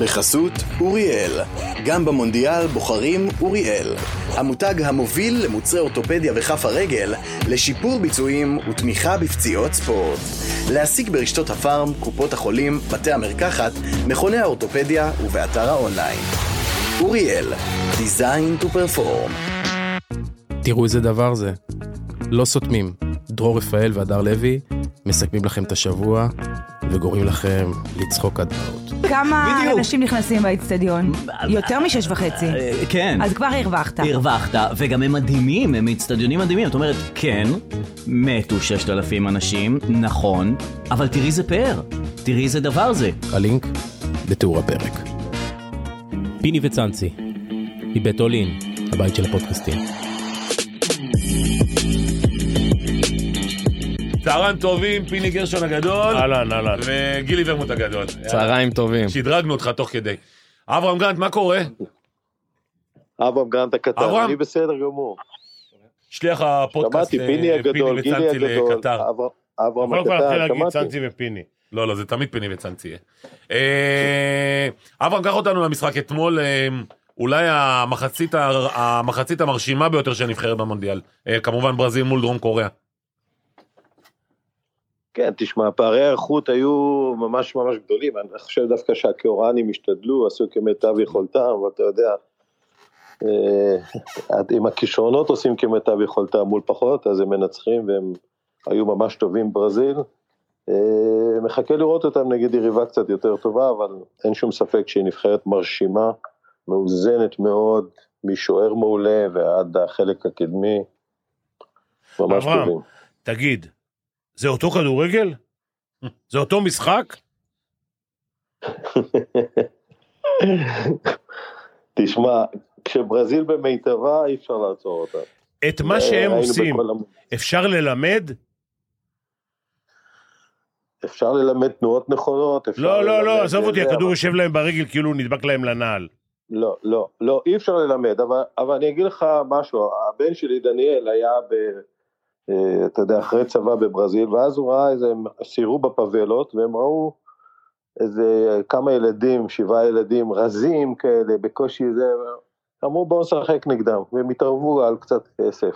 בחסות אוריאל. גם במונדיאל בוחרים אוריאל. המותג המוביל למוצרי אורתופדיה וכף הרגל, לשיפור ביצועים ותמיכה בפציעות ספורט. להשיג ברשתות הפארם, קופות החולים, בתי המרקחת, מכוני האורתופדיה ובאתר האונליין. אוריאל, Design to Perform. תראו איזה דבר זה. לא סותמים. דרור רפאל והדר לוי מסכמים לכם את השבוע וגורמים לכם לצחוק עד דמעות. כמה בדיוק. אנשים נכנסים באצטדיון? יותר משש וחצי. אה, כן. אז כבר הרווחת. הרווחת, וגם הם מדהימים, הם אצטדיונים מדהימים. זאת אומרת, כן, מתו 6,000 אנשים, נכון, אבל תראי איזה פאר, תראי איזה דבר זה. הלינק בתיאור הפרק. פיני וצאנצי, מבית אולין, הבית של הפודקאסטים. צהריים טובים, פיני גרשון הגדול, אהלן, אהלן. וגילי ורמוט הגדול. צהריים טובים. שדרגנו אותך תוך כדי. אברהם גרנט, מה קורה? אברהם גרנט הקטן, אברהם. אני בסדר גמור. שליח הפודקאסט, שמעתי, אה, פיני הגדול, גילי וצאנצי הגדול, לקטר. אבר- אברהם אבל כבר נתחיל הקטן, להגיד שמעתי. צאנצי ופיני. לא, לא, זה תמיד פיני וצאנצי. יהיה. אה, אברהם, קח אותנו למשחק אתמול, אה, אולי המחצית הר- המחצית המרשימה ביותר של הנבחרת במונדיאל. אה, כמובן ברזיל מול דרום קוריאה. כן, תשמע, פערי האיכות היו ממש ממש גדולים, אני חושב דווקא שהקיאורנים השתדלו, עשו כמיטב יכולתם, ואתה יודע, אה, עם הכישרונות עושים כמיטב יכולתם מול פחות, אז הם מנצחים והם היו ממש טובים ברזיל. אה, מחכה לראות אותם נגד יריבה קצת יותר טובה, אבל אין שום ספק שהיא נבחרת מרשימה, מאוזנת מאוד, משוער מעולה ועד החלק הקדמי, ממש אברהם, טובים. תגיד, זה אותו כדורגל? זה אותו משחק? תשמע, כשברזיל במיטבה אי אפשר לעצור אותה. את מה שהם היינו עושים, בכל המ- אפשר ללמד? אפשר ללמד תנועות נכונות, אפשר לא, לא, ללמד- לא, עזוב אותי, כן, זה, הכדור אבל- יושב להם ברגל כאילו הוא נדבק להם לנעל. לא, לא, לא, אי אפשר ללמד, אבל, אבל אני אגיד לך משהו, הבן שלי דניאל היה ב... אה, אתה יודע, אחרי צבא בברזיל, ואז הוא ראה איזה, הם סיירו בפבלות, והם ראו איזה כמה ילדים, שבעה ילדים רזים כאלה, בקושי זה, אמרו בואו נשחק נגדם, והם התערבו על קצת כסף.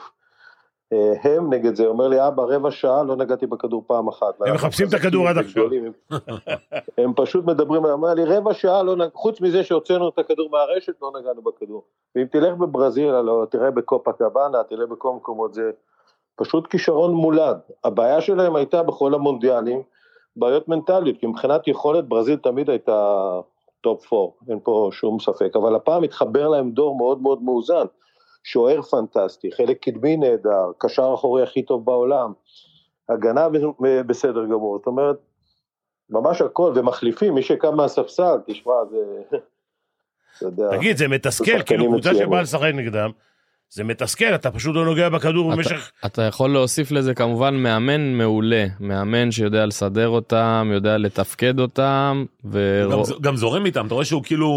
אה, הם נגד זה, הוא אומר לי, אבא, רבע שעה לא נגעתי בכדור פעם אחת. הם מחפשים את הכדור עד עכשיו. גדולים. הם פשוט מדברים, הוא אמר לי, רבע שעה, לא נג... חוץ מזה שהוצאנו את הכדור מהרשת, לא נגענו בכדור. ואם תלך בברזיל, הלוא תראה בקופה קבאנה, תראה בכל מקומות, זה פשוט כישרון מולד. הבעיה שלהם הייתה בכל המונדיאלים, בעיות מנטליות, כי מבחינת יכולת ברזיל תמיד הייתה טופ 4, אין פה שום ספק, אבל הפעם התחבר להם דור מאוד מאוד מאוזן, שוער פנטסטי, חלק קדמי נהדר, קשר אחורי הכי טוב בעולם, הגנה ב- בסדר גמור, זאת אומרת, ממש הכל, ומחליפים, מי שקם מהספסל, תשמע, זה... אתה יודע, תגיד, זה מתסכל, שחקנים כאילו קבוצה מצוינים. שבאה לשחק נגדם, זה מתסכל, אתה פשוט לא נוגע בכדור במשך... אתה יכול להוסיף לזה כמובן מאמן מעולה, מאמן שיודע לסדר אותם, יודע לתפקד אותם, ו... גם ז- גם זורם איתם, אתה רואה שהוא כאילו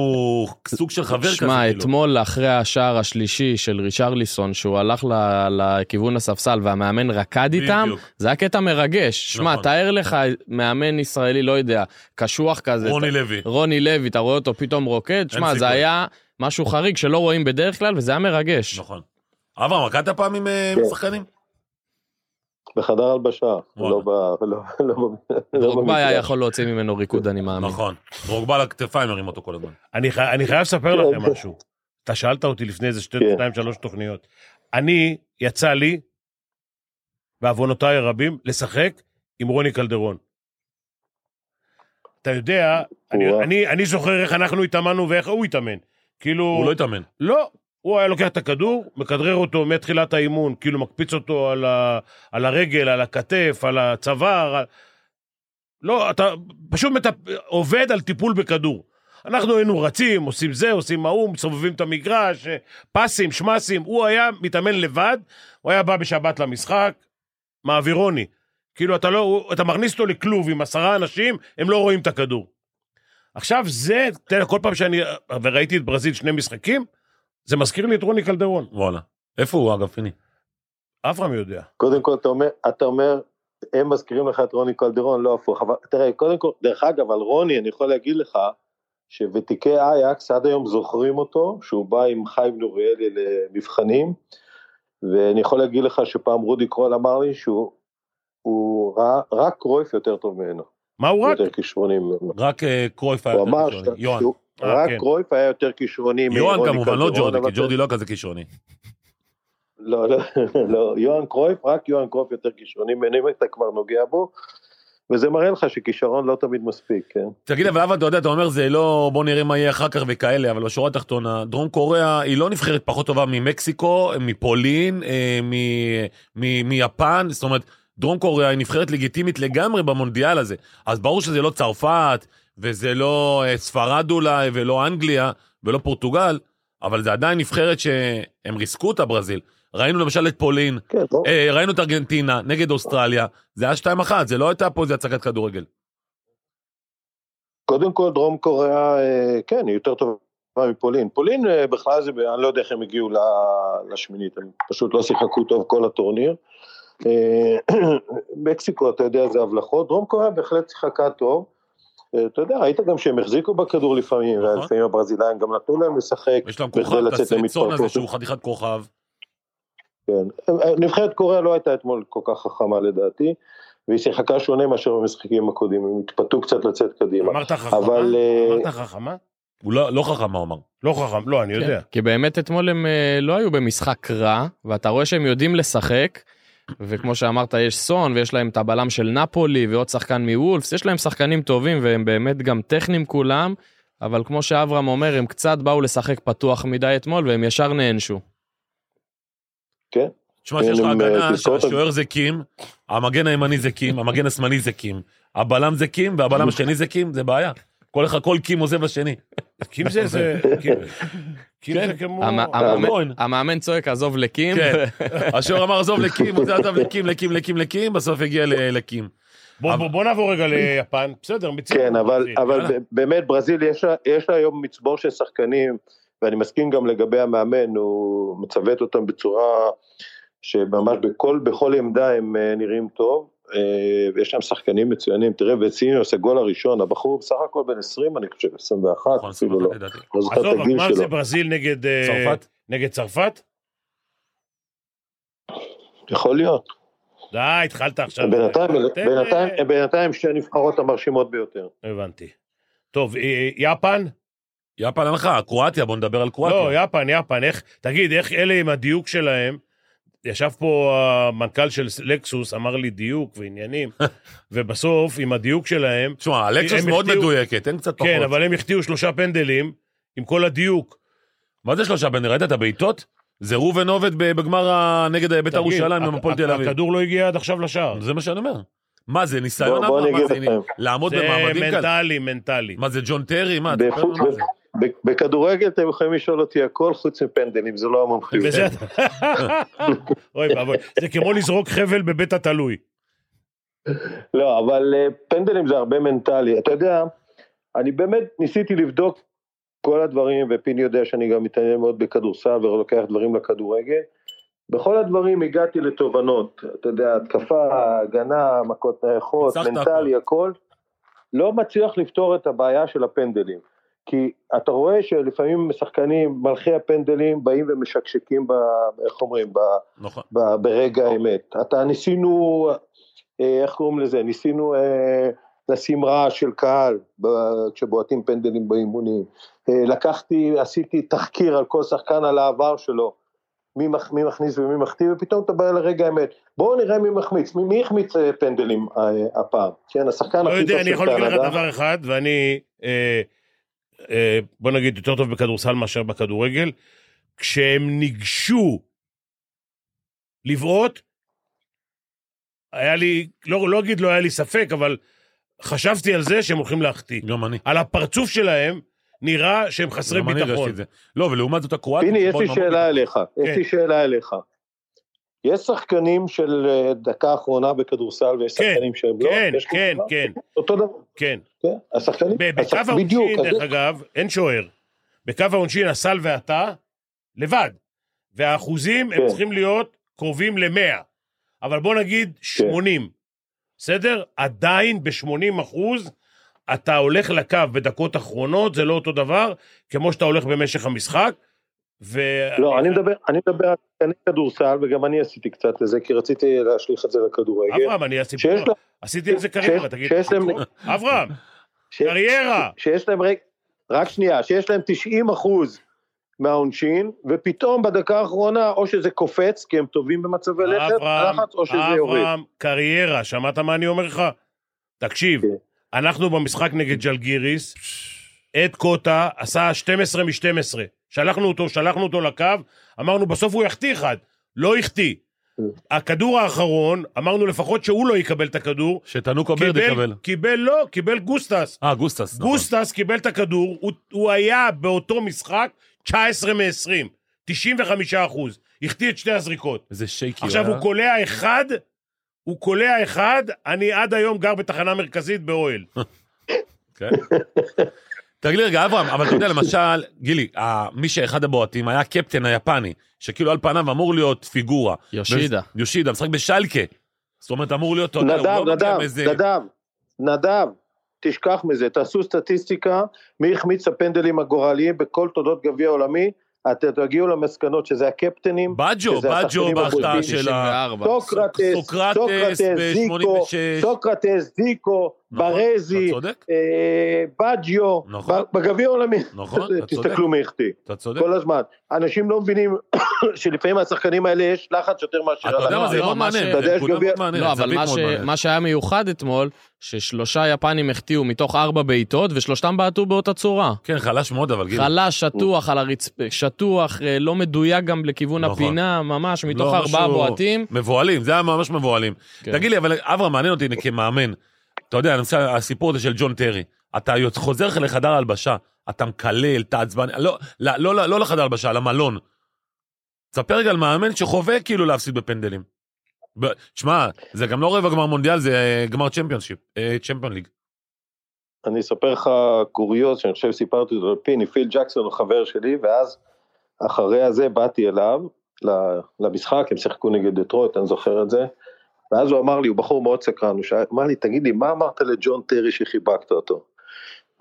סוג של חבר כזה. שמע, כאילו. אתמול אחרי השער השלישי של רישרליסון, שהוא הלך ל- לכיוון הספסל והמאמן רקד איתם, בדיוק. זה היה קטע מרגש. שמע, נכון. תאר לך מאמן ישראלי, לא יודע, קשוח כזה. רוני אתה- לוי. רוני לוי, אתה רואה אותו פתאום רוקד, שמע, זה סיכוי. היה משהו חריג שלא רואים בדרך כלל, וזה היה מרגש. נכון. אברהם, רקדת פעם עם אה, עם כן. שחקנים? בחדר הלבשה, וואלה. לא ב... לא, לא, ב- לא רוגבה היה במגרש. יכול להוציא ממנו ריקוד, אני מאמין. נכון. רוגבה על הכתפיים הרים אותו כל הזמן. אני חי- אני חייב לספר כן. לכם משהו. אתה שאלת אותי לפני איזה שתי, כן. שתיים, שלוש תוכניות. אני, יצא לי, בעוונותיי הרבים, לשחק עם רוני קלדרון. אתה יודע, אני- וואו. אני- אני זוכר איך אנחנו התאמנו ואיך הוא התאמן. כאילו, הוא לא התאמן. לא, הוא היה לוקח את הכדור, מכדרר אותו מתחילת האימון, כאילו מקפיץ אותו על, ה, על הרגל, על הכתף, על הצוואר. על... לא, אתה פשוט מטפ... עובד על טיפול בכדור. אנחנו היינו רצים, עושים זה, עושים ההוא, מסובבים את המגרש, אה, פסים, שמסים. הוא היה מתאמן לבד, הוא היה בא בשבת למשחק, מעבירוני. כאילו, אתה, לא, הוא- אתה מכניס אותו לכלוב עם עשרה אנשים, הם לא רואים את הכדור. עכשיו זה, תראה, כל פעם שאני, וראיתי את ברזיל שני משחקים, זה מזכיר לי את רוני קלדרון. וואלה. איפה הוא אגב, פיני? אברהם יודע. קודם כל, אתה אומר, אתה אומר, הם מזכירים לך את רוני קלדרון, לא הפוך. אבל תראה, קודם כל, דרך אגב, על רוני, אני יכול להגיד לך, שוותיקי אייקס עד היום זוכרים אותו, שהוא בא עם חיים נוריאלי למבחנים, ואני יכול להגיד לך שפעם רודי קרול אמר לי שהוא הוא ראה, רק קרויף יותר טוב ממנו, מה הוא הוא רק? יותר כישרוני ממנו. רק אה, קרויף היה הוא יותר אמר כישרוני. ש- יוהן. שהוא- אה, רק כן. קרויף היה יותר כישרוני יוהן מרוני כמובן, לא קלדרון, ג'ורדי, אבל כי ג'ורדי לא היה כזה כישרוני. לא, לא, לא, יוהאן קרויף, רק יוהאן קרויף יותר כישרוני ממנו, אם אתה כבר נוגע בו, וזה מראה לך שכישרון לא תמיד מספיק, כן? תגיד, אבל אבא, אתה יודע, אתה אומר, זה לא, בוא נראה מה יהיה אחר כך וכאלה, אבל בשורה התחתונה, דרום קוריאה היא לא נבחרת פחות טובה ממקסיקו, מפולין, אה, מ- מ- מיפן, זאת אומרת, דרום קוריאה היא נבחרת לגיטימית לגמרי במונדיאל הזה. אז ברור שזה לא צרפת, וזה לא אה, ספרד אולי, ולא אנגליה, ולא פורטוגל, אבל זה עדיין נבחרת שהם ריסקו אותה, ברזיל. ראינו למשל את פולין, כן, לא, אה, ראינו את ארגנטינה נגד אוסטרליה, זה היה 2-1, זה לא הייתה פה איזה הצגת כדורגל. קודם כל דרום קוריאה, אה, כן, היא יותר טובה מפולין. פולין אה, בכלל זה, אני לא יודע איך הם הגיעו ל- לשמינית, הם פשוט לא שיחקו טוב כל הטורניר. אה, מקסיקו, אתה יודע, זה הבלחות, דרום קוריאה בהחלט שיחקה טוב. אה, אתה יודע, ראית גם שהם החזיקו בכדור לפעמים, נכון. ולפעמים הברזילאים גם נתנו להם לשחק. יש להם בכדי כוכב, את לצאת הצאצון הזה למתפרצות. שהוא חתיכת כוכב. כן. נבחרת קוריאה לא הייתה אתמול כל כך חכמה לדעתי, והיא שיחקה שונה מאשר במשחקים הקודמים, הם התפתו קצת לצאת קדימה. אמרת חכמה? אבל, אה, אמרת חכמה? הוא לא לא חכם מה הוא אמר. לא חכם, לא, אני כן. יודע. כן. כי באמת אתמול הם אה, לא היו במשחק רע, ואתה רואה שהם יודעים לשחק, וכמו שאמרת, יש סון, ויש להם את הבלם של נפולי, ועוד שחקן מוולפס, יש להם שחקנים טובים, והם באמת גם טכניים כולם, אבל כמו שאברהם אומר, הם קצת באו לשחק פתוח מדי אתמול, והם ישר נענשו. תשמע שיש לך הם, אה, הגנה תזכור אותם. שהשוער זה קים, המגן הימני זה קים, המגן השמאלי זה קים, הבלם זה קים והבלם השני זה קים, זה בעיה. כל אחד, כל קים עוזב לשני. קים כן, זה איזה... קים- קים זה כמו... המ- אה, אה, המאמן- כהן. המאמן צועק, עזוב לקים. כן. השוער אמר עזוב לקים, הוא זה עזב לקים, לקים, לקים, לקים, בסוף הגיע ל- לקים. בוא- בוא- בוא נעבור רגע ליפן, בסדר, מציג. כן, אבל, יאללה. אבל ב- באמת ברזיל יש לה, יש לה היום מצבור של שחקנים, ואני מסכים גם לגבי המאמן, הוא מצוות אותם בצורה שממש בכל, בכל עמדה הם אה, נראים טוב, אה, ויש להם שחקנים מצוינים, תראה, וציניוס הגול הראשון, הבחור בסך הכל בן 20, אני חושב, 21, נכון, אפילו לא, סבבה, לדעתי. לא זוכר את עזוב, הגיל מה זה שלו, ברזיל נגד... אה, צרפת? נגד צרפת? יכול להיות, די, התחלת עכשיו. אה, בינתיים, תן- בינתיים, הם בינתיים שתי הנבחרות המרשימות ביותר. הבנתי. טוב, אה, יפן? יפן הלכה, קרואטיה, בוא נדבר על לא, קרואטיה. יפן, יפן, איך, תגיד, איך אלה עם הדיוק שלהם, ישב פה המנכ"ל של לקסוס, אמר לי דיוק ועניינים, ובסוף, עם הדיוק שלהם, תשמע, אלקסוס הם מאוד החטיאו- מדויקת, אין קצת פחות. כן, אבל הם החטיאו שלושה פנדלים, עם כל הדיוק. מה זה שלושה בן, ראית את הבעיטות? זה ראובן עובד ב- בגמר ה- נגד בית"ר תגיד, ירושלים הכ- עם הפועל הכ- תל אביב. הכדור לא הגיע עד עכשיו לשער. זה מה שאני אומר. מה זה, ניסיון? בואו בוא אבל אני מה אגיד זה, לכם, לעמוד זה במעמדים כאלה? מנטלי, מנטלי. מה זה, ג'ון טרי? מה, תספר בפוט- לנו מה זה. ב- בכדורגל אתם יכולים לשאול אותי הכל חוץ מפנדלים, זה לא המומחיות. וזה- כן. אוי ואבוי, זה כמו לזרוק חבל בבית התלוי. לא, אבל אה, פנדלים זה הרבה מנטלי. אתה יודע, אני באמת ניסיתי לבדוק כל הדברים, ופיני יודע שאני גם מתעניין מאוד בכדורסל ולוקח דברים לכדורגל. בכל הדברים הגעתי לתובנות, אתה יודע, התקפה, הגנה, מכות נייחות, ניצחת מנטלי, הכל. לא מצליח לפתור את הבעיה של הפנדלים. כי אתה רואה שלפעמים שחקנים, מלכי הפנדלים, באים ומשקשקים, ב, איך אומרים, ב, נכון. ב- ברגע אוקיי. האמת. אתה ניסינו, אה, איך קוראים לזה? ניסינו אה, לשים רעש של קהל ב- כשבועטים פנדלים באימונים. אה, לקחתי, עשיתי תחקיר על כל שחקן על העבר שלו, מי, מח, מי מכניס ומי מחטיא, ופתאום אתה בא לרגע האמת. בואו נראה מי מחמיץ, מי, מי החמיץ אה, פנדלים אה, הפעם? כן, השחקן לא הכי יודע, טוב אני של יכול להגיד לך קנדה. דבר אחד, ואני, אה, אה, בוא נגיד, יותר טוב בכדורסל מאשר בכדורגל, כשהם ניגשו לבעוט, היה לי, לא, לא אגיד לא היה לי ספק, אבל חשבתי על זה שהם הולכים להחטיא. גם אני. על הפרצוף שלהם נראה שהם חסרי גם אני הרגשתי ביטחון. את זה. לא, ולעומת זאת הקרואטים... פיני, יש לי שבאו עם שאלה המון- אליך. כן. יש לי שאלה אליך. יש שחקנים של אה, דקה אחרונה בכדורסל ויש כן, שחקנים שהם לא? כן, יש כן, כזה דבר? כן. אותו דבר. כן. כן, השחקנים, ב- בקו השח- בדיוק, העונשין, אז דרך זה- אגב, אין שוער. בקו העונשין, הסל ואתה, לבד. והאחוזים, הם כן. צריכים להיות קרובים ל-100. כן. אבל בוא נגיד 80. בסדר? עדיין ב-80 אחוז, אתה הולך לקו בדקות אחרונות, זה לא אותו דבר כמו שאתה הולך במשך המשחק. ו... לא, אני מדבר, אני מדבר על שחקני כדורסל, וגם אני עשיתי קצת לזה, כי רציתי להשליך את זה לכדורגל. אברהם, אני עשיתי, שיש לה- עשיתי עם זה קריירה, שיש- תגיד. שיש להם- אברהם, ש- קריירה. שיש להם, רק- רק שנייה, שיש להם 90 אחוז מהעונשין, ופתאום בדקה האחרונה, או שזה קופץ, כי הם טובים במצבי לחץ, אברהם, לא לחץ, או שזה יורד. אברהם, קריירה, שמעת מה אני אומר לך? תקשיב, כן. אנחנו במשחק נגד ג'לגיריס, עד קוטה עשה 12 מ-12. שלחנו אותו, שלחנו אותו לקו, אמרנו בסוף הוא יחטיא אחד, לא החטיא. כן. הכדור האחרון, אמרנו לפחות שהוא לא יקבל את הכדור. שתנוקו ברד יקבל. קיבל לא, קיבל גוסטס. אה, גוסטס. נכון. גוסטס קיבל את הכדור, הוא, הוא היה באותו משחק 19 מ-20, 95 אחוז, החטיא את שתי הזריקות. איזה אה? שייקי. עכשיו היה. הוא קולע אחד, הוא קולע אחד, אני עד היום גר בתחנה מרכזית באוהל. כן. תגיד לי רגע, אברהם, אבל אתה יודע, למשל, גילי, ה- מי שאחד הבועטים היה הקפטן היפני, שכאילו על פניו אמור להיות פיגורה. יושידה. ו- יושידה, משחק בשלקה. זאת אומרת, אמור להיות... אתה יודע, הוא נדב, לא נותן נדב, איזה- נדב, נדב, תשכח מזה, תעשו סטטיסטיקה, מי החמיץ הפנדלים הגורליים בכל תולדות גביע העולמי, אתם תגיעו למסקנות שזה הקפטנים, בג'ו, שזה בג'ו השחקנים בהחטאה הבולטים. של ה... 94. סוקרטס, סוקרטס סוקרטס, זיקו, ב-86. סוקרטס, זיקו, נכון, ברזי, אתה צודק, אה, בג'יו, נכון. ב- בגביע העולמי, נכון, אתה צודק. תסתכלו מי החטיא, אתה צודק. כל הזמן. אנשים לא מבינים שלפעמים השחקנים האלה יש לחץ יותר מאשר... אתה יודע הלחץ. מה, זה לא, מאוד מה ש- מעניין, אתה יודע, יש נקודה גביע- מאוד מעניינת, לא, זה אבל ביט מה, מאוד ש... מעניין. מה שהיה מיוחד אתמול, ששלושה יפנים החטיאו מתוך ארבע בעיטות, ושלושתם בעטו באותה צורה. כן, חלש מאוד, אבל גילי. חלש, שטוח על הרצפה, שטוח, אה, לא מדויק גם לכיוון נכון. הפינה, ממש, מתוך לא, ארבעה משהו- בועטים. מבוהלים, זה היה ממש מבוהלים. כן. תגיד לי, אבל אברהם, מעניין אותי כמאמן. אתה יודע, למשל, הסיפור הזה של ג'ון טרי. אתה יוצ- חוזר לך לחדר ההלבשה, אתה מקלל, אתה עצבני, לא, לא, לא, לא, לא לחדר ההלבשה, למלון. תספר רגע על מאמן שחווה כאילו להפסיד בפנדלים. ב- תשמע, זה גם לא רבע גמר מונדיאל, זה אה, גמר צ'מפיונשיפ, אה, צ'מפיון ליג. אני אספר לך קוריוז שאני חושב שסיפרתי אותו לפיני, פיל ג'קסון הוא חבר שלי, ואז אחרי הזה באתי אליו ל- למשחק, הם שיחקו נגד דטרויט, אני זוכר את זה, ואז הוא אמר לי, הוא בחור מאוד סקרן, הוא שאל- אמר לי, תגיד לי, מה אמרת לג'ון טרי שחיבקת אותו?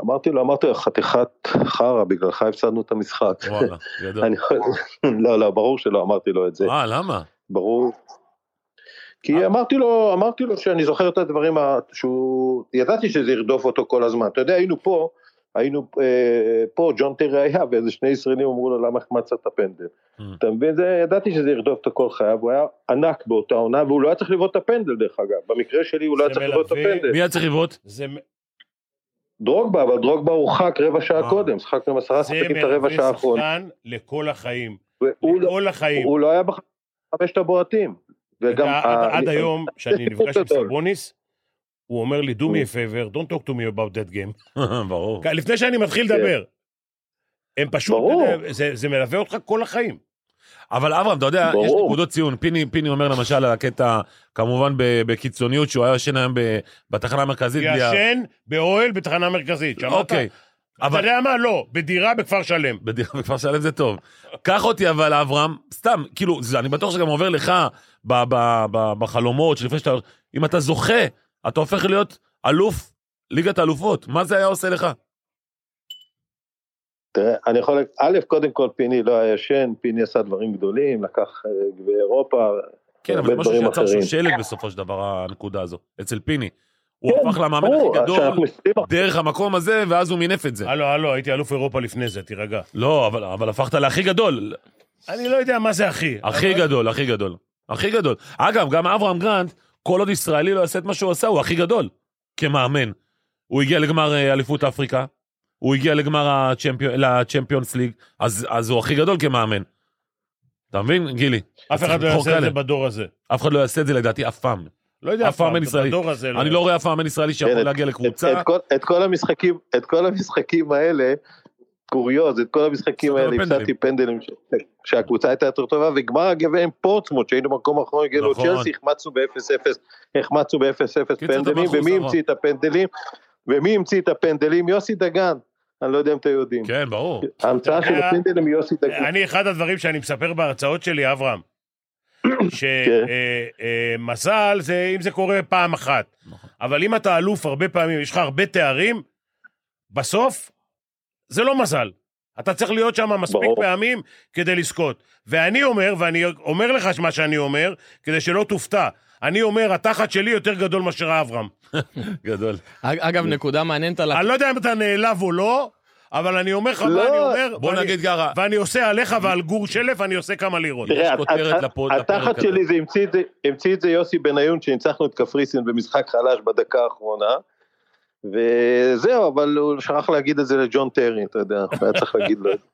אמרתי לו, אמרתי לו, חתיכת חרא, בגללך הפסדנו את המשחק. וואלה, גדול. אני, לא, לא, ברור שלא אמרתי לו את זה. אה, למה? ברור. אה. כי אמרתי לו, אמרתי לו שאני זוכר את הדברים ה- שהוא, ידעתי שזה ירדוף אותו כל הזמן. אתה יודע, היינו פה, היינו אה, פה, ג'ון טרי היה, ואיזה שני ישראלים אמרו לו, למה החמצת את הפנדל? Mm. אה. אתה מבין? זה, ידעתי שזה ירדוף אותו כל חייו, הוא היה ענק באותה עונה, והוא לא היה צריך לבעוט את הפנדל דרך אגב. במקרה שלי הוא לא היה זה צריך לבעוט את מלווה. הפנדל. מי היה צריך לבעוט? זה, דרוגבה, אבל דרוגבה הורחק רבע שעה אה. קודם, שחקנו עם עשרה זה שחקים את הרבע שעה מלווה האחרונה. שחקן לכל החיים. והוא לא- לכל החיים. הוא לא היה בחמשת הבועטים. וגם... אתה- עד- ה- עד היום, כשאני נפגש עם גדול. סבוניס, הוא אומר לי, do me a favor, don't talk to me about that game. ברור. לפני שאני מתחיל כן. לדבר. הם פשוט, ברור. אתה יודע, זה- זה מלווה אותך כל החיים. אבל אברהם, אתה יודע, יש ברור. נקודות ציון. פיני, פיני אומר למשל על הקטע, כמובן ב- בקיצוניות, שהוא היה ישן היום ב- בתחנה המרכזית. בלי ה- ישן באוהל בתחנה מרכזית, שמעת? אוקיי. אתה אבל יודע מה? לא, בדירה בכפר שלם. בדיוק, בכפר שלם זה טוב. קח אותי אבל, אברהם, סתם, כאילו, זה, אני בטוח שגם עובר לך ב- ב- ב- בחלומות, שלפני שאתה... אם אתה זוכה, אתה הופך להיות אלוף ליגת האלופות. מה זה היה עושה לך? תראה, אני יכול, להגיד- א', קודם כל פיני לא היה ישן, פיני עשה דברים גדולים, לקח אה, גביע אירופה, כן, אבל הרבה זה משהו דברים שיצר אחרים. שושלת בסופו של דבר, הנקודה הזו, אצל פיני. הוא כן, הפך למאמן ברור, הכי אז גדול כשאנחנו מסתכלים, דרך המקום הזה, ואז הוא מינף את זה. הלו, הלו, הייתי אלוף אירופה לפני זה, תירגע. לא, אבל, אבל הפכת להכי גדול. אני לא יודע מה זה אחי. הכי גדול, הכי גדול. הכי גדול. אגב, גם אברהם גרנט, כל עוד ישראלי לא יעשה את מה שהוא עשה, הוא הכי גדול כמאמן. הוא הגיע לגמר אה, אליפות אפריקה, הוא הגיע לגמר הצ'מפיונ- לצ'מפיונס ליג, אז, אז הוא הכי גדול כמאמן. אתה מבין, גילי? אף אחד לא חוק יעשה את כאלה. זה בדור הזה. אף אחד לא יעשה את זה לדעתי אף פעם. לא יודע, אף מאמן זה ישראלי. בדור הזה. אני לא רואה אף מאמן ישראלי שיכול כן, להגיע את, לקבוצה. את, כל, את כל המשחקים, את כל המשחקים האלה, קוריוז, את כל המשחקים הפסדת האלה, בפנדלים. הפסדתי פנדלים, ש- שהקבוצה הייתה יותר טובה, וגמר הגביע עם פורצמוט, שהיינו במקום האחרון, הגענו נכון. לצ'לסי, החמצנו ב-0-0, החמצנו קיצר, ב-0-0 זה פנדלים, מלכוס, ומי נכון. המציא את הפנדלים? ומי המציא את הפנדלים? יוסי דגן, אני לא יודע אם אתם יודעים. כן, ברור. ההמצאה של אתה- הפנדלים היא יוסי דגן. אני, אחד הדברים שאני מספר בהרצאות שלי, אברהם, אה, כן. שמזל זה אם זה קורה פעם אחת. אבל אם אתה אלוף הרבה פעמים, יש לך הרבה תארים, בסוף, זה לא מזל. אתה צריך להיות שם מספיק ברור. פעמים כדי לזכות. ואני אומר, ואני אומר לך מה שאני אומר, כדי שלא תופתע. אני אומר, התחת שלי יותר גדול מאשר אברהם. גדול. אג- אגב, נקודה מעניינת על... ה- אני לא יודע אם אתה נעלב או לא, אבל אני אומר לך מה לא. אני אומר, בוא ואני- נגיד ככה, ואני עושה עליך ועל גור שלף, אני עושה כמה לירות. יש תראה, כותרת הת- לפוד- לפרק התחת הזה. שלי זה המציא את זה- המציא את זה יוסי בניון שניצחנו את קפריסין במשחק חלש בדקה האחרונה. וזהו, אבל הוא שכח להגיד את זה לג'ון טרי, אתה יודע, הוא היה צריך להגיד לו. את זה.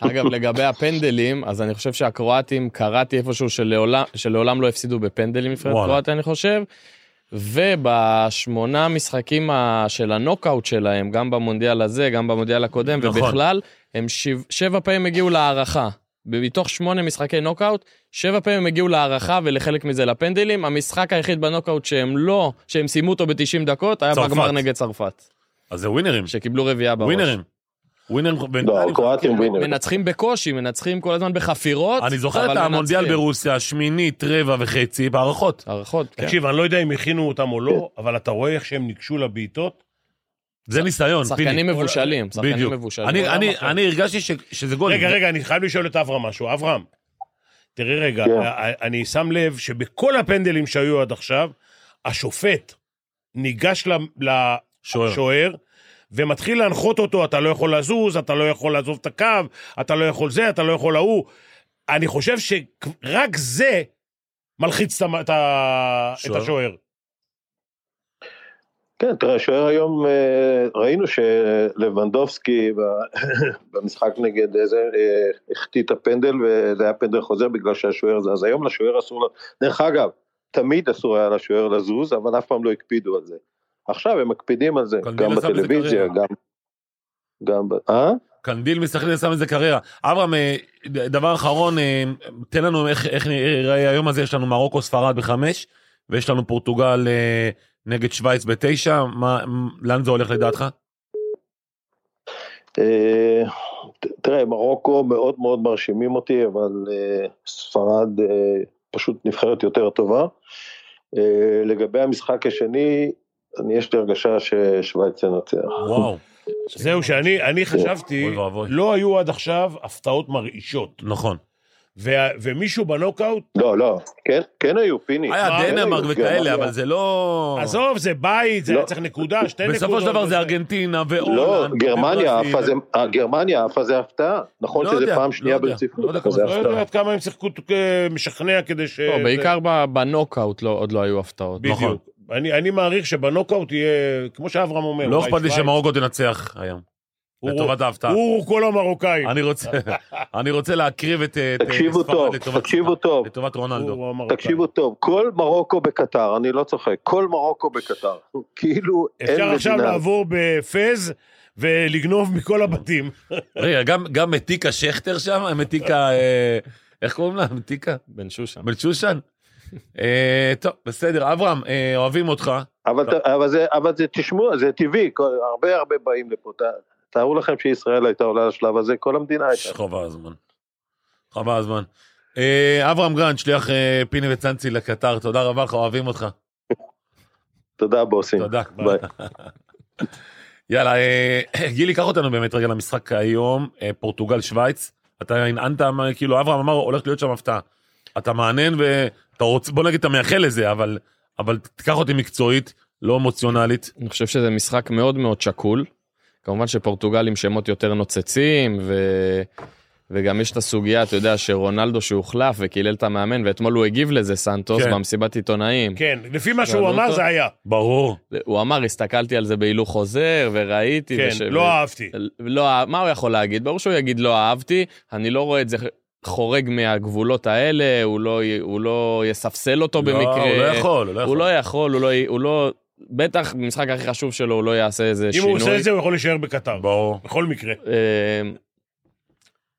אגב, לגבי הפנדלים, אז אני חושב שהקרואטים, קראתי איפשהו שלעולם, שלעולם לא הפסידו בפנדלים נבחרת וואלה. קרואטיה, אני חושב. ובשמונה משחקים ה- של הנוקאוט שלהם, גם במונדיאל הזה, גם במונדיאל הקודם, נכון. ובכלל, הם שבע, שבע פעמים הגיעו להערכה. מתוך שמונה משחקי נוקאוט, שבע פעמים הם הגיעו להערכה ולחלק מזה לפנדלים. המשחק היחיד בנוקאוט שהם לא, שהם סיימו אותו ב-90 דקות, היה צרפת. בגמר נגד צרפת, אז זה ווינרים, שקיבלו רביעייה בראש. ווינרים. ווינרים לא, בינתיים. קרואטים ווינרים. מנצחים בקושי, מנצחים כל הזמן בחפירות. אני זוכר את אבל המונדיאל מנצחים. ברוסיה, שמינית, רבע וחצי, בהערכות. הערכות, כן. תקשיב, אני לא יודע אם הכינו אותם או לא, אבל אתה רואה איך שהם ניגשו לבעיטות? זה ניסיון, פיני. שחקנים מבושלים, שחקנים בדיוק. מבושלים. אני- עולם אני- אחר. אני הרגשתי ש- שזה גול. רגע, רגע, אני חייב לשאול את אברהם משהו. אברהם, תראה רגע, אה, כן. אני שם לב שבכל הפנדלים שהיו עד עכשיו, השופט ניגש ל- שוער. לשוער. ומתחיל להנחות אותו, אתה לא יכול לזוז, אתה לא יכול לעזוב את הקו, אתה לא יכול זה, אתה לא יכול ההוא. אני חושב שרק זה מלחיץ את המ- את ה- את שוער. השוער. כן, תראה, שוער היום, אה, ראינו שלבנדובסקי ב- במשחק נגד איזה, אה, החטיא את הפנדל, וזה היה פנדל חוזר בגלל שהשוער זה, אז היום לשוער אסור, ל- דרך אגב, תמיד אסור היה לשוער לזוז, אבל אף פעם לא הקפידו על זה. עכשיו הם מקפידים על זה, קלמילה גם שם את זה בטלוויזיה, כרגע. גם... גם ב... אה? קנדיל מסכנין שם איזה קריירה. אברהם, אה, ד- דבר אחרון, אה, תן לנו איך- איך נראה אה, היום הזה, יש לנו מרוקו ספרד בחמש, ויש לנו פורטוגל אה, נגד שווייץ בתשע, מה- מ- לאן זה הולך לדעתך? אה, ת- תראה, מרוקו מאוד מאוד מרשימים אותי, אבל אה, ספרד אה, פשוט נבחרת יותר טובה. אה, לגבי המשחק השני, אני יש לי הרגשה ששווייץ תנצח. וואו, זהו, שאני אני חשבתי, אוי ואבוי. לא היו עד עכשיו הפתעות מרעישות. נכון. וה- ומישהו בנוקאוט, לא, לא, כן, כן היו, פיני. כן היה היו, דנמרק וכאלה, גרמניה. אבל זה לא... עזוב, זה בית, זה לא. היה צריך נקודה, שתי נקודות. אה. בסופו של דבר זה וזה. ארגנטינה לא, והולנד. גרמניה וברזיל. עפה זה, אה, גרמניה עפה זה הפתעה. נכון לא שזה יודע, פעם לא שנייה יודע, לא ברציפות, יודע אבל זה כמה לא זה הפתעה. יודע עד כמה הם שיחקו אה, משכנע כדי ש... אה, לא, בעיקר ב- בנוקאוט לא- עוד לא היו הפתעות. נכון. בדיוק. אני אני מעריך שבנוקאוט יהיה, כמו שאברהם אומר, לא אולי אכפת לי אה, שווייץ. שמרוקו תנצח היום. הוא- לטובת ההפתעה. הוא כל המרוקאים. אני רוצה- אני רוצה להקריב את אה, את- את תקשיבו ספרד טוב, לטובת- תקשיבו טוב, לטובת הוא- רונלדו. הוא המרוקאי. תקשיבו טוב, כל מרוקו בקטר, אני לא צוחק, כל מרוקו בקטר. כאילו אין אפשר מדינה. עכשיו לעבור בפז ולגנוב מכל הבתים. רגע, גם- גם מתיקה שכטר שם, מתיקה, אה, איך קוראים לה? מתיקה? בן שושן. בן שושן? אה, טוב, בסדר. אברהם, אה, אוהבים אותך. אבל, ת- אבל, זה, אבל זה, תשמעו, זה טבעי, כל, הרבה הרבה באים לפה. ת, תארו לכם שישראל הייתה עולה לשלב הזה, כל המדינה הייתה. חבל הזמן. חבל הזמן. אה, אברהם גרנד, שליח אה, פיני וצאנצי לקטר, תודה רבה לך, אוהבים אותך. תודה בוסים. תודה. ביי. יאללה, אה, גילי, קח אותנו באמת רגע למשחק היום, אה, פורטוגל-שווייץ. אתה הנענת, מה- כאילו, אברהם אמר, הולך להיות שם הפתעה. אתה מענן ואתה רוצה, בוא נגיד, אתה מייחל לזה, אבל, אבל תיקח אותי מקצועית, לא אמוציונלית. אני חושב שזה משחק מאוד מאוד שקול. כמובן שפורטוגל עם שמות יותר נוצצים, ו... וגם יש את הסוגיה, אתה יודע, שרונלדו שהוחלף וקילל את המאמן, ואתמול הוא הגיב לזה, סנטוס, כן. במסיבת עיתונאים. כן, לפי מה שאלו שהוא אמר אותו? זה היה. ברור. הוא אמר, הסתכלתי על זה בהילוך חוזר, וראיתי, כן, וש- לא אהבתי. לא, אה- מה הוא יכול להגיד? ברור שהוא יגיד לא אהבתי, אני לא רואה את זה חורג מהגבולות האלה, הוא לא, י- הוא לא יספסל אותו במקרה. לא, הוא לא יכול, הוא לא הוא יכול. לא יכול, הוא לא, י- הוא לא... בטח במשחק הכי חשוב שלו הוא לא יעשה איזה אם שינוי. הוא עושה את זה הוא יכול להישאר בקטר. ברור. בכל מקרה. אה,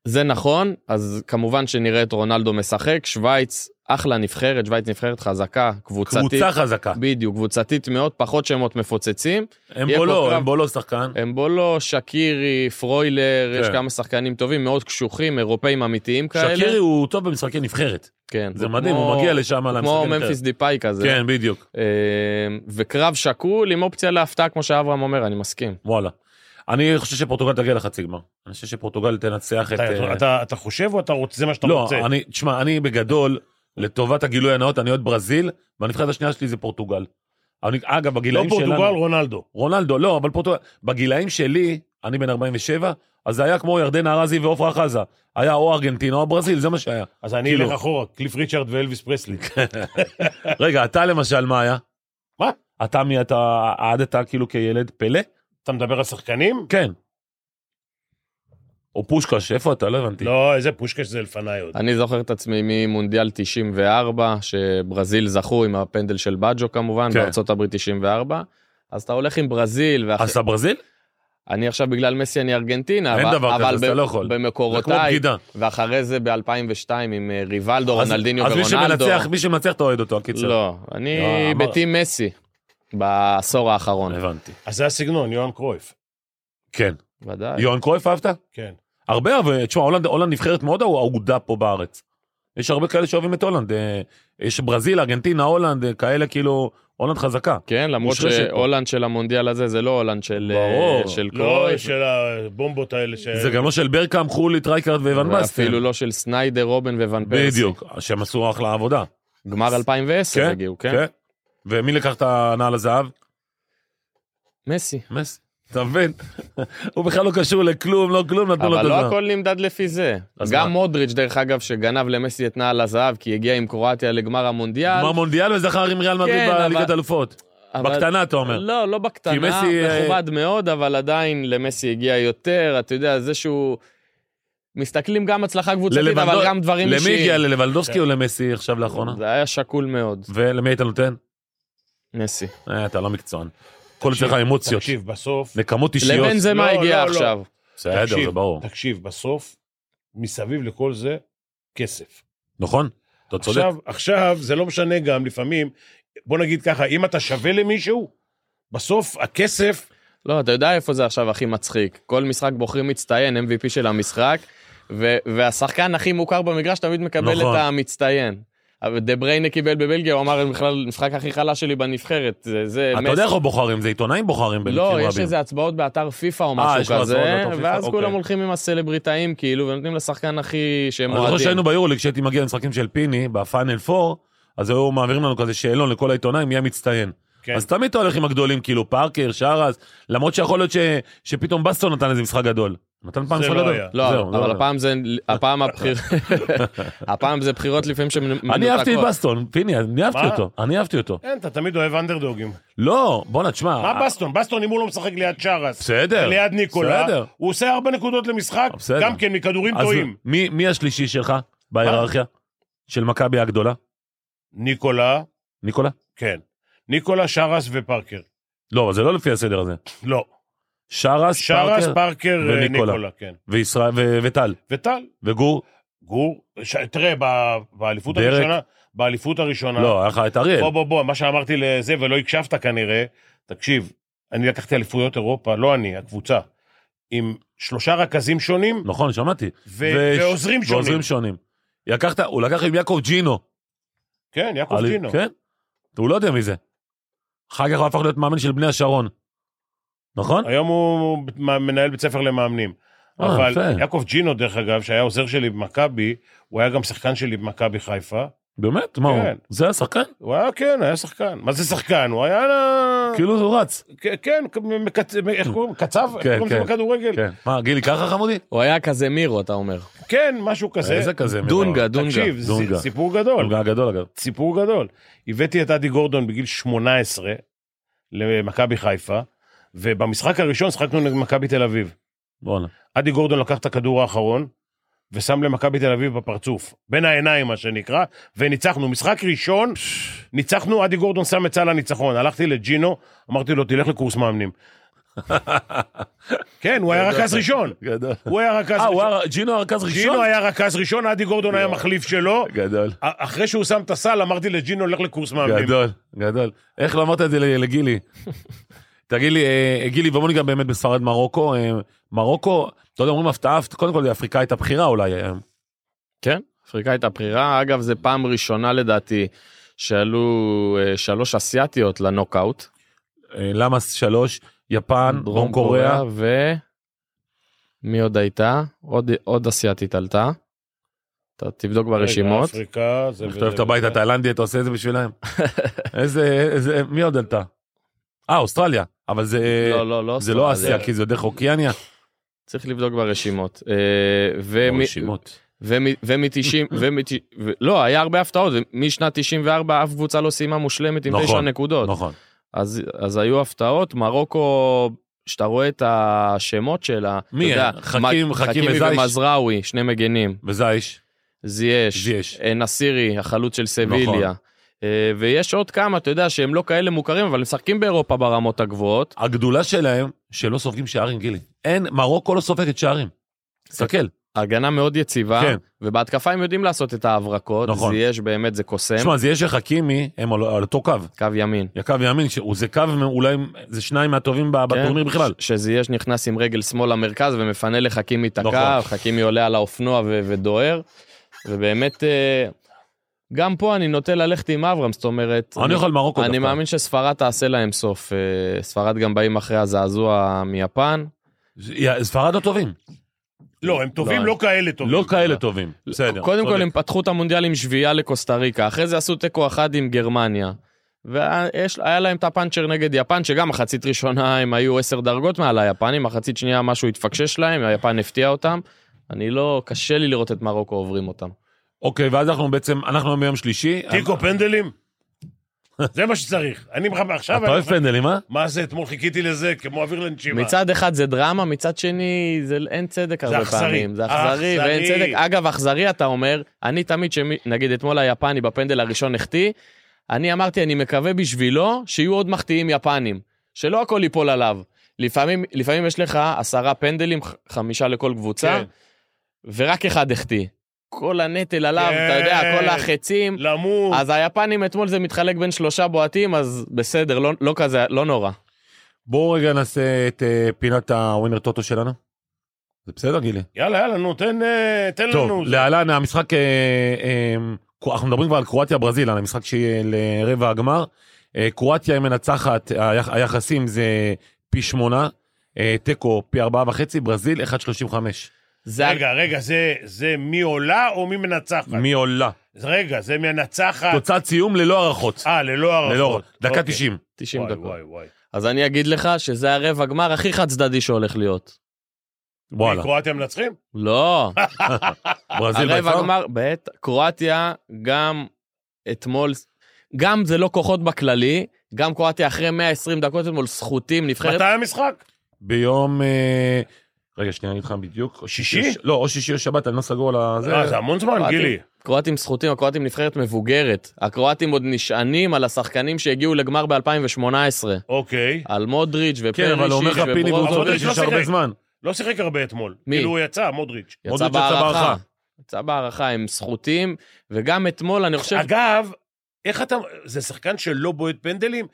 זה נכון, אז כמובן שנראה את רונלדו משחק, שווייץ אחלה נבחרת, שווייץ נבחרת חזקה, קבוצתית. קבוצה חזקה. בדיוק, קבוצתית מאוד, פחות שמות מפוצצים. יהיה פה אמבולו, קרב. אמבולו שחקן. אמבולו, לא, שקירי, פרוילר, כן. יש כמה שחקנים טובים, מאוד קשוחים, אירופאים אמיתיים כאלה. שקירי הוא טוב במשחקי נבחרת. כן. זה הוא מדהים, כמו- הוא מגיע לשם על כמו המשחקי נבחרת. ממפיס דיפאי כזה. כן, בדיוק. אה, וקרב שקול עם אופציה להפתעה, כמו שאברהם אומר, אני מסכים. וואלה. אני חושב שפורטוגל תגיע לחצי גמר. אני חושב שפורטוגל תנצח את... אתה- אה, אתה- אתה חושב או אתה רוצה, זה מה שאתה לא, רוצה. אני, תשמע, אני בגדול, לטובת הגילוי הנאות, אני אוהד ברזיל, והנבחרת השנייה שלי זה פורטוגל. אני, אגב, לא בגילאים שלנו... פורטוגל, רונלדו. רונלדו, לא, אבל פורטוגל... בגילאים שלי, אני בן 47, אז זה היה כמו ירדן ארזי ועופרה חזה. היה או ארגנטינה או ברזיל, זה מה שהיה. אז אני כאילו. אלך אחורה, קליף ריצ'רד ואלוויס פרסלי. רגע, אתה למשל, מה היה? מה? אתה מי אתה, עדת כאילו כילד פלא? אתה מדבר על שחקנים? כן. או פושקש, איפה אתה? לא הבנתי. לא, איזה פושקש זה לפניי עוד. אני זוכר את עצמי ממונדיאל 94, שברזיל זכו עם הפנדל של בג'ו כמובן, כן. בארצות הברית 94. אז אתה הולך עם ברזיל, ואח- אז אתה ברזיל? אני עכשיו בגלל מסי אני ארגנטינה, אין אבל- דבר כזה, אבל אז אתה ב- לא יכול. זה כמו במקורותיי, בגידה. ואחרי זה ב-2002 עם אה, ריבלדו, אז- רונלדיניו אז מי ורונלדו. שמנצח, מי שמנצח אתה אוהד אותו, הקיצר. לא, אני לא, אמר- בטים מסי בעשור האחרון. הבנתי. אז זה הסגנון, יוהאן קרויף. כן. ודאי. יוהן קרויף אהבת? כן. הרבה, אבל תשמע, הולנד, הולנד נבחרת מאוד אהודה פה בארץ. יש הרבה כאלה שאוהבים את הולנד. אה, יש ברזיל, ארגנטינה, הולנד, אה, כאלה כאילו, הולנד חזקה. כן, למרות מושרשת פה. שהולנד של המונדיאל הזה זה לא הולנד של אה, ברור. של לא, קרויף, של הבומבות האלה ש... זה גם לא של ברקאם, חולית, רייקרד וואן בסטר. ואפילו לא של סניידר, רובן וואן פרסי. בדיוק, כן, שהם עשו אחלה עבודה. גמר 2010 הגיעו, כן? ומי לקח את הנעל הזהב? מסי. מס. אתה מבין? הוא בכלל לא קשור לכלום, לא כלום, נתנו לו את אבל לא הזהב. הכל נמדד לפי זה. אז מה? גם מודריץ', דרך אגב, שגנב למסי את נעל הזהב, כי הגיע עם קרואטיה לגמר המונדיאל. כלומר מונדיאל וזכר עם ריאל מדריד כן, אבל- בליגת אלופות. אבל- בקטנה אתה אומר. לא, לא בקטנה, כי מסי, אה, מכובד מאוד, אבל עדיין למסי הגיע יותר, אתה יודע, זה שהוא... מסתכלים גם הצלחה קבוצתית, ללבנדו- אבל גם דברים למי אישיים. כן. הגיע ללבנדובסקי או למסי עכשיו לאחרונה? זה היה שקול מאוד, ולמי היית נותן? מסי. אה, אתה לא מקצוען. כל אצלך אמוציות, תקשיב, בסוף... נקמות אישיות. לבן זה מה לא, הגיע לא, לא. עכשיו. בסדר, תקשיב, זה ברור. תקשיב, בסוף, מסביב לכל זה, כסף. נכון? אתה צודק. עכשיו, עכשיו, זה לא משנה גם לפעמים, בוא נגיד ככה, אם אתה שווה למישהו, בסוף הכסף, לא, אתה יודע איפה זה עכשיו הכי מצחיק. כל משחק בוחרים מצטיין, MVP של המשחק, ו- והשחקן הכי מוכר במגרש תמיד מקבל נכון. את המצטיין. אבל דה בריינה קיבל בבלגיה, הוא אמר, "זה בכלל, המשחק הכי חלש שלי בנבחרת. זה, זה אתה יודע איך הוא בוחרים, זה עיתונאים בוחרים לא, במקרים יש רבים. איזה הצבעות באתר פיפא או אה, משהו יש לו הצבעות כזה, באתר פיפא, ואז אוקיי. כולם הולכים עם הסלבריטאים, כאילו, ונותנים לשחקן הכי שהם אני זוכר אוהדים. שהיינו ביורוליג, כשהייתי מגיע למשחקים של פיני, בפאנל 4, אז היו מעבירים לנו כזה שאלון לכל העיתונאים, מי המצטיין. כן. אז תמיד אתה הולך עם הגדולים, כאילו פארקר, שרס, למרות שיכול להיות ש- שפתאום בסטו נתן איזה משחק גדול. נתן פעם זה משחק לא גדול. היה. לא, זהו, אבל הפעם זה, הפעם הבחיר... הפעם זה בחירות לפעמים שמנותקות. אני אהבתי את בסטון, פיני, אני אהבתי מה? אותו, אני אהבתי אותו. אין, אתה תמיד אוהב אנדרדוגים. לא, בואנה, תשמע. מה בסטון? בסטון, אם הוא לא משחק ליד שרס, בסדר. ליד ניקולה, בסדר. הוא עושה ארבע נקודות למשחק, בסדר. גם כן מכדורים אז טועים. מי, מי השלישי שלך בהיררכיה? של מכבי הגדולה? ניקולה, ניקולה? כן. ניקולה, שרס ופרקר. לא, אבל זה לא לפי הסדר הזה. לא. שרס, שרס, פארקר פרקר, אה, וניקולה. ניקולה, כן. וישראל, ו- וטל, וטל, וגור. גור, ש- תראה, ב- באליפות דרק. הראשונה, באליפות הראשונה, לא, היה לך את אריאל. בוא, בוא, בוא, מה שאמרתי לזה, ולא הקשבת כנראה, תקשיב, אני לקחתי אליפויות אירופה, לא אני, הקבוצה, עם שלושה רכזים שונים, נכון, שמעתי. ו- וש- ועוזרים שונים. ועוזרים שונים. לקחת, הוא לקח עם יעקב ג'ינו. כן, יעקב על- טינו. כן? הוא לא יודע מי זה. אחר כך הוא הפך להיות מאמן של בני השרון. נכון? היום הוא מ- מנהל בית ספר למאמנים. אה, אבל יפה. יעקב ג'ינו, דרך אגב, שהיה עוזר שלי במכבי, הוא היה גם שחקן שלי במכבי חיפה. באמת? מה הוא? כן. זה השחקן? הוא היה, כן, היה שחקן. מה זה שחקן? הוא היה... אה, לה- כאילו הוא רץ. כ- כן, כ- מקצ- מ- איך קוראים? קצב? איך כן, קוראים לזה כן. בכדורגל? כן. מה, גילי ככה חמודי? הוא היה כזה מירו, אתה אומר. כן, משהו כזה. איזה כזה? מי דונגה, אמר? דונגה. תקשיב, זה דונגה. סיפור גדול. דונגה הגדול אגב. סיפור גדול. הבאתי את אדי גורדון בגיל 18 למכבי חיפה, ובמשחק הראשון שחקנו נגד מכבי תל אביב. בואנה. אדי גורדון לקח את הכדור האחרון, ושם למכבי תל אביב בפרצוף, בין העיניים מה שנקרא, וניצחנו. משחק ראשון, ניצחנו, אדי גורדון שם את סל הניצחון. הלכתי לג'ינו, אמרתי לו, תלך לקורס מאמנים. כן, הוא היה רכז ראשון. גדול. הוא היה רכז אה, הוא ראשון. היה- ג'ינו הרכז ראשון? ג'ינו היה רכז ראשון, אדי גורדון לא. היה מחליף שלו. גדול. אחרי שהוא שם את הסל, אמרתי לג'ינו, לך לקורס מאמנים. גדול, גדול. איך לא אמרת את זה ל- לגילי? תגיד לי, אה, גילי, ובוא ניגע באמת בספרד מרוקו. אה, מרוקו, אתה יודע, אומרים הפתעה, הפת- קודם כל, אפריקה הייתה בחירה אולי. אה, כן, אפריקה הייתה בחירה. אגב, זו פעם ראשונה לדעתי שעלו אה, שלוש אסיאתיות לנוקאוט. אה, למה שלוש, יפן, דרום קוריאה. ו... מי עוד הייתה? עוד, עוד אסיאתית עלתה. אתה תבדוק ברשימות. רגע, אפריקה, זה אתה וזה אוהב את הבית וזה. התאילנדי, אתה עושה את זה בשבילם. איזה, איזה, מי עוד עלתה? אה, אוסטרליה. אבל זה... לא, לא, לא. זה לא אה, אוסטרליה. אסיה, כי זה דרך אוקיאניה. צריך לבדוק ברשימות. אה, ומ- רשימות. ומ- ומ-90, ומ- ו- לא, היה הרבה הפתעות, משנת 94 אף קבוצה לא סיימה מושלמת עם נכון, תשע נקודות. נכון. אז, אז היו הפתעות, מרוקו, כשאתה רואה את השמות שלה, מי אתה יודע, הם? חכים- מ- חכים חכימי וזייש. ומזרעוי, שני מגנים, וזייש. זייש, זייש. אה, נסירי, החלוץ של סביליה, נכון. אה, ויש עוד כמה, אתה יודע, שהם לא כאלה מוכרים, אבל הם משחקים באירופה ברמות הגבוהות. הגדולה שלהם, שלא סופגים שערים, גילי. אין, מרוקו לא סופגת שערים. תסתכל. הגנה מאוד יציבה, כן. ובהתקפה הם יודעים לעשות את ההברקות, נכון. זייש באמת זה קוסם, תשמע, זה יש לך קימי, הם על על אותו קו. קו ימין. הקו ימין, שהוא- זה קו, אולי זה שניים מהטובים ב- כן. בטורניר בכלל. ש- שזייש נכנס עם רגל שמאל למרכז ומפנה לחכימי את נכון. הקו, חכימי עולה על האופנוע ו- ודוהר, ובאמת, אה, גם פה אני נוטה ללכת עם אברהם, זאת אומרת, אני הולך על מרוקו אני דווקא. מאמין שספרד תעשה להם סוף. אה, ספרד גם באים אחרי הזעזוע מיפן. יא, ספרד לא טובים. לא, הם טובים, לא, לא כאלה טובים. לא כאלה טובים. בסדר. אוקיי. קודם כל צודק. הם פתחו את המונדיאל עם שביעייה לקוסטה ריקה, אחרי זה עשו תיקו אחד עם גרמניה. והיה להם את הפאנצ'ר נגד יפן, שגם מחצית ראשונה הם היו עשר דרגות מעל היפנים, מחצית שנייה משהו התפקשש להם, היפן הפתיע אותם. אני לא, קשה לי לראות את מרוקו עוברים אותם. אוקיי, ואז אנחנו בעצם, אנחנו היום ביום שלישי. תיקו פנדלים? זה מה שצריך. אני מחבר עכשיו... אתה אוהב פנדלים, אה? מה זה, אתמול חיכיתי לזה, כמו אוויר לנשימה. מצד אחד זה דרמה, מצד שני זה אין צדק הרבה אכזרי. פעמים. זה אכזרי. אכזרי. ואין צדק. אגב, אכזרי אתה אומר, אני תמיד, שמי- נגיד אתמול היפני בפנדל הראשון החטיא, אני אמרתי, אני מקווה בשבילו שיהיו עוד מחטיאים יפנים, שלא הכל ייפול עליו. לפעמים, לפעמים יש לך עשרה פנדלים, ח- חמישה לכל קבוצה, כן. ורק אחד החטיא. כל הנטל עליו, אתה יודע, כל כן. לא. החצים. למות. אה. אז היפנים אתמול זה מתחלק בין שלושה בועטים, אז בסדר, לא, לא כזה, לא נורא. בואו רגע נעשה את אה, פינת הווינר טוטו שלנו. זה בסדר, גילי? יאללה, יאללה, נו, תן אה, תן לנו. טוב, להלן המשחק, אה, אה, קו- אנחנו מדברים כבר על קרואטיה ברזיל, על המשחק שיהיה לרבע הגמר. אה, קרואטיה היא מנצחת, היח, היחסים זה פי שמונה, אה, תיקו פי ארבעה וחצי, ברזיל 1.35. זה רגע, רגע, זה- זה מי עולה או מי מנצחת? מי עולה? אז רגע, זה מי הנצחת. תוצאת סיום ללא הערכות. אה, ללא הערכות. ללא הערכות. דקה אוקיי. 90. 90 וואי, דקות. וואי, וואי. אז אני אגיד לך שזה הרבע גמר הכי חד צדדי שהולך להיות. וואלה. קרואטיה מנצחים? לא, ברזיל הרבע בעצם? גמר, בעת, קרואטיה גם אתמול, גם זה לא כוחות בכללי, גם קרואטיה אחרי 120 דקות אתמול סחוטים, נבחרת, מתי המשחק? ביום... אה, רגע, שנייה, אני אגיד לך בדיוק. שישי? לא, או שישי או שבת, אני לא סגור על הזה. אה, זה המון זמן, קרואטיה. גילי. קרואטים סחוטים, הקרואטים נבחרת מבוגרת. הקרואטים עוד נשענים על השחקנים שהגיעו לגמר ב-2018, אוקיי. על מודריץ' כן, אבל הוא אומר ופרישיץ' לך פיני והוא וברוזוביץ'. צודק, מודריץ' לא יש הרבה שיחק. זמן. לא שיחק הרבה אתמול. מי? כאילו הוא יצא, מודריץ'. יצא מודריץ' יצא בהערכה. בהערכה. יצא בהערכה, הם סחוטים, וגם אתמול, אני חושב, אגב, איך אתה... זה שחקן שלא בועט פנדלים?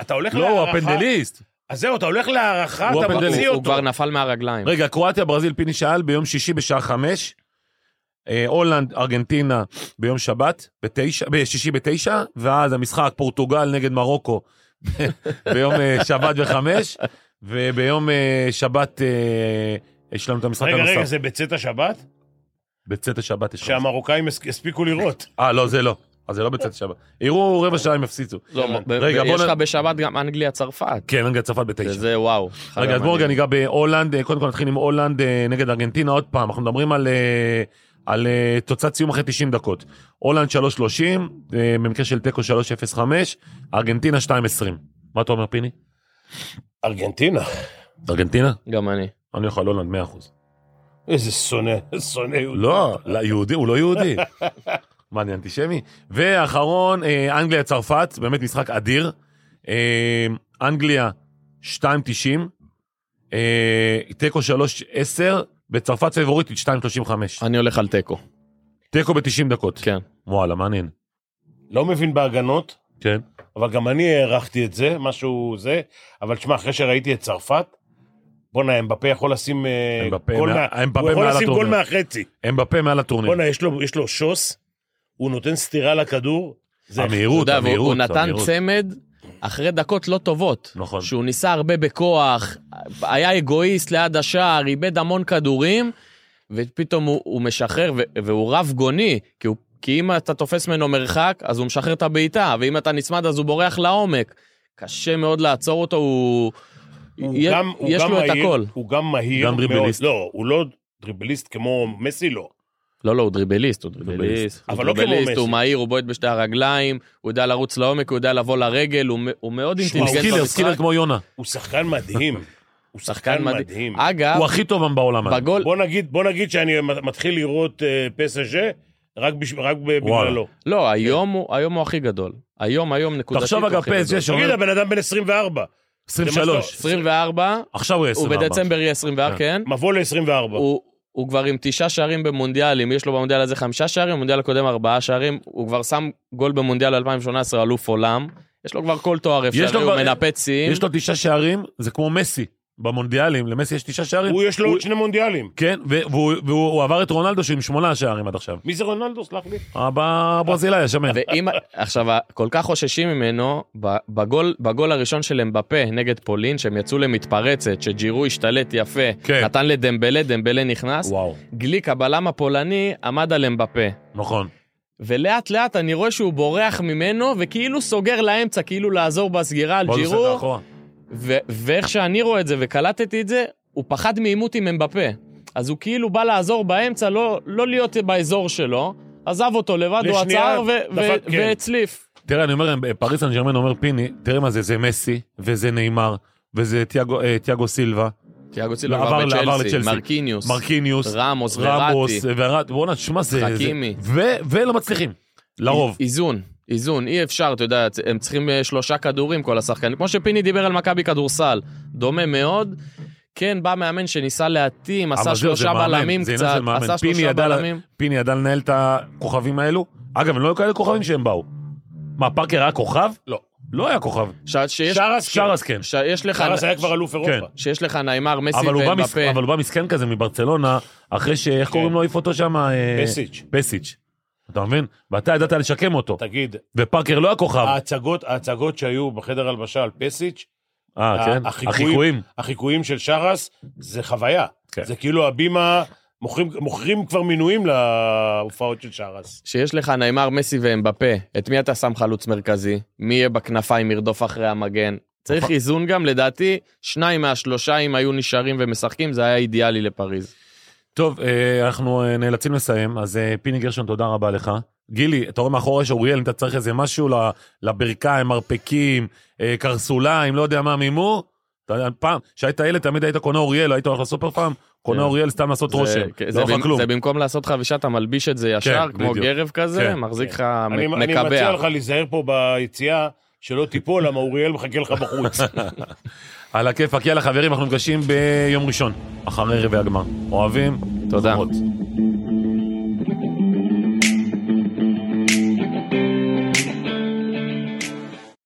אתה הולך לא, להערכה... הוא הפנדליסט. אז זהו, אתה הולך להערכה, הוא אתה הפנדליסט. מוציא הוא הוא אותו. כבר נפל כן. מהרגליים. רגע, קרואטיה, ברזיל, פיני שאל ביום שישי בשעה חמש, אה, הולנד, ארגנטינה ביום שבת, בתשע, בשישי בתשע, ואז המשחק פורטוגל נגד מרוקו ב- ביום אה, שבת בחמש, וביום אה, שבת אה, יש לנו את המשחק רגע, רגע, הנוסף. זה בצאת השבת? בצאת השבת יש לך. שהמרוקאים הס- הספיקו לראות. אה, לא, זה לא. אז זה לא בצאת השבת. יראו רבע שעה הם יפסידו. לא, ב- רגע, ב- בוא יש לך נ- בשבת גם אנגליה צרפת. כן, רגע, צרפת בתשע. שזה וואו. רגע, אז בואו רגע ניגע בהולנד, אה, קודם כל נתחיל עם הולנד אה, נגד ארגנטינה, עוד פעם, אנחנו מדברים על, אה, על אה, תוצאת סיום אחרי 90 דקות. הולנד 3.30, אה, במקרה של תיקו 3.05, ארגנטינה 2.20. מה אתה אומר פיני? ארגנטינה. ארגנטינה? גם אני. אני הולך על הולנד 100%. איזה שונא, שונא יהודי. לא, לא, יהודי, הוא לא יהודי. מה, אני אנטישמי? ואחרון, אה, אנגליה-צרפת, באמת משחק אדיר. אה, אנגליה 2.90, אה, אה, תיקו 3-10, בצרפת פייבוריטית 2-35. אני הולך על תיקו, תיקו ב-90 דקות. כן. וואלה, מעניין. לא מבין בהגנות, כן. אבל גם אני הערכתי את זה, משהו זה, אבל שמע, אחרי שראיתי את צרפת, בואנה, אמבפה יכול לשים אה, אמבפה גול מה- מה- אמבפה הוא יכול מעל לשים גול הטורניר. מהחצי. אמבפה מעל הטורניר. בואנה, יש לו- יש לו שוס, הוא נותן סטירה לכדור, זה אתה המהירות, יודע, והוא- הוא המהירות, נתן המהירות. צמד אחרי דקות לא טובות. נכון. שהוא ניסה הרבה בכוח, היה אגואיסט ליד השער, איבד המון כדורים, ופתאום הוא, הוא משחרר, ו, והוא רב גוני, כי, הוא, כי אם אתה תופס ממנו מרחק, אז הוא משחרר את הבעיטה, ואם אתה נצמד, אז הוא בורח לעומק. קשה מאוד לעצור אותו, הוא... הוא יה- גם- הוא יש גם לו את מהיר, הכל. הוא גם מהיר גם מאוד. דריבליסט. לא, הוא לא דריבליסט כמו מסי, לא. לא, לא, הוא דריבליסט, הוא דריבליסט. הוא אבל לא כמו דריבליסט, מסי. הוא מהיר, הוא בועט בשתי הרגליים, הוא יודע לרוץ לעומק, הוא יודע לבוא לרגל, הוא מ- הוא מאוד שמע, הוא אינטליגנט סקילר, סקילר במשחק. כמו יונה. הוא שחקן מדהים. הוא שחקן מד- מדהים. אגב, הוא הכי טוב בעולם. היום. בגול, בוא נגיד, בוא נגיד שאני מתחיל לראות אה, פסאז'ה רק, בש... רק ב- בגללו. לא, היום הוא- היום הוא הכי גדול. היום, היום נקודתית. תחשוב הוא אגב, הכי פס, גדול. יש תגיד, אומר הבן אדם בן 24, 23. 24, עכשיו הוא הוא 24. בדצמבר יהיה 24, כן. מבוא ל-24. הוא- הוא כבר עם תשעה שערים במונדיאלים, יש לו במונדיאל הזה חמישה שערים, במונדיאל הקודם ארבעה שערים, הוא כבר שם גול במונדיאל 2018, אלוף עולם. יש לו כבר כל תואר לו אפשרי, הוא כבר- מנפץ שיאים. יש לו תשעה שערים, זה כמו מסי במונדיאלים, למסי יש תשעה שערים. הוא יש לו עוד שני מונדיאלים. כן, ו- והוא והוא- הוא עבר את רונלדו שעם שמונה שערים עד עכשיו. מי זה רונלדו? סלח לי. הבא ברזילאי, השמן. ואם, עכשיו, כל כך חוששים ממנו, ב- בגול, בגול הראשון של אמבפה נגד פולין, שהם יצאו למתפרצת, שג'ירו השתלט יפה, כן. נתן לדמבלה, דמבלה נכנס, וואו, גליק, הבלם הפולני, עמד על אמבפה. נכון. ולאט לאט אני רואה שהוא בורח ממנו, וכאילו סוגר לאמצע, כאילו לעזור בסגירה על בוא נעשה את זה נכון. ג'ירו, אחורה. ו- ואיך שאני רואה את זה וקלטתי את זה, הוא פחד מעימות עם אמבפה. אז הוא כאילו בא לעזור באמצע, לא, לא להיות באזור שלו, עזב אותו לבד, הוא לשנייה, עצר ו- דפק, ו- כן. והצליף. תראה, אני אומר, פריס סן ג'רמן אומר פיני, תראה מה זה, זה מסי, וזה נאמר, וזה תיאגו- אה, תיאגו סילבה, תיאגו סילבה לא, עבר- לא, עבר עבר בצ'לסי, לצ'לסי. מרקיניוס, מרקיניוס, רמוס רמוס, וראטי. ורד, בואנה, שמע, זה... זה- חכימי. ו- ולא מצליחים, לרוב. איזון, איזון, אי אפשר, אתה יודע, הם צריכים אה, שלושה כדורים כל השחקנים. כמו שפיני דיבר על מכבי כדורסל, דומה מאוד. כן, בא מאמן שניסה להתאים, אבל עשה זהו, זה שלושה מאמן, בלמים זה עניין קצת, של מאמן. עשה פיני שלושה ידע ל- בלמים. פיני ידע לנהל את הכוכבים האלו. אגב, הם לא היו כאלה כוכבים שהם באו. מה, פארקר היה כוכב? לא. לא היה כוכב. ש- שיש- שרס, כן. שרס כן. שיש לך... שרס היה כבר אלוף כן. אירופה. שיש לך נעימר, מסי אבל הוא, בא מס... ואמבפה. אבל הוא בא מסכן כזה מברצלונה, אחרי ש... איך קוראים לו העיף אותו שם? אה, פסיץ'. פסיץ'. אתה מבין? ואתה ידעת לשקם אותו. תגיד, ופארקר לא היה כוכב. ההצגות, ההצגות שהיו בחדר הלבשה על פסיץ', אה, כן? החיקויים. החיקויים של שרס, זה חוויה. כן. זה כאילו הבימה, מוכרים, מוכרים כבר מינויים להופעות של שרס. שיש לך נאמר מסי ואמבפה, את מי אתה שם חלוץ מרכזי? מי יהיה בכנפיים ירדוף אחרי המגן? צריך איזון גם, לדעתי, שניים מהשלושה, אם היו נשארים ומשחקים, זה היה אידיאלי לפריז. טוב, אה, אנחנו אה, נאלצים לסיים, אז אה, פיני גרשון, תודה רבה לך. גילי, אתה רואה מאחורי יש אוריאל, אם אתה צריך איזה משהו ל- לברכיים, מרפקים, אה, קרסוליים, לא יודע מה, מימו. אתה- פעם, כשהיית ילד, תמיד היית קונה אוריאל, היית הולך לסופר פעם, קונה כן. אוריאל סתם לעשות רושם. כן, לא זה, לך במ- כלום. זה במקום לעשות חבישה, אתה מלביש את זה ישר, כן, כמו בדיוק. גרב כזה, כן. מחזיק לך, אני, מ- אני מקבע. מציע לך להיזהר פה ביציאה, שלא תיפול, למה אוריאל מחכה לך בחוץ. על הכיפאק, יאללה חברים, אנחנו נפגשים ביום ראשון, אחרי רבעי הגמר. אוהבים? תודה. חברות.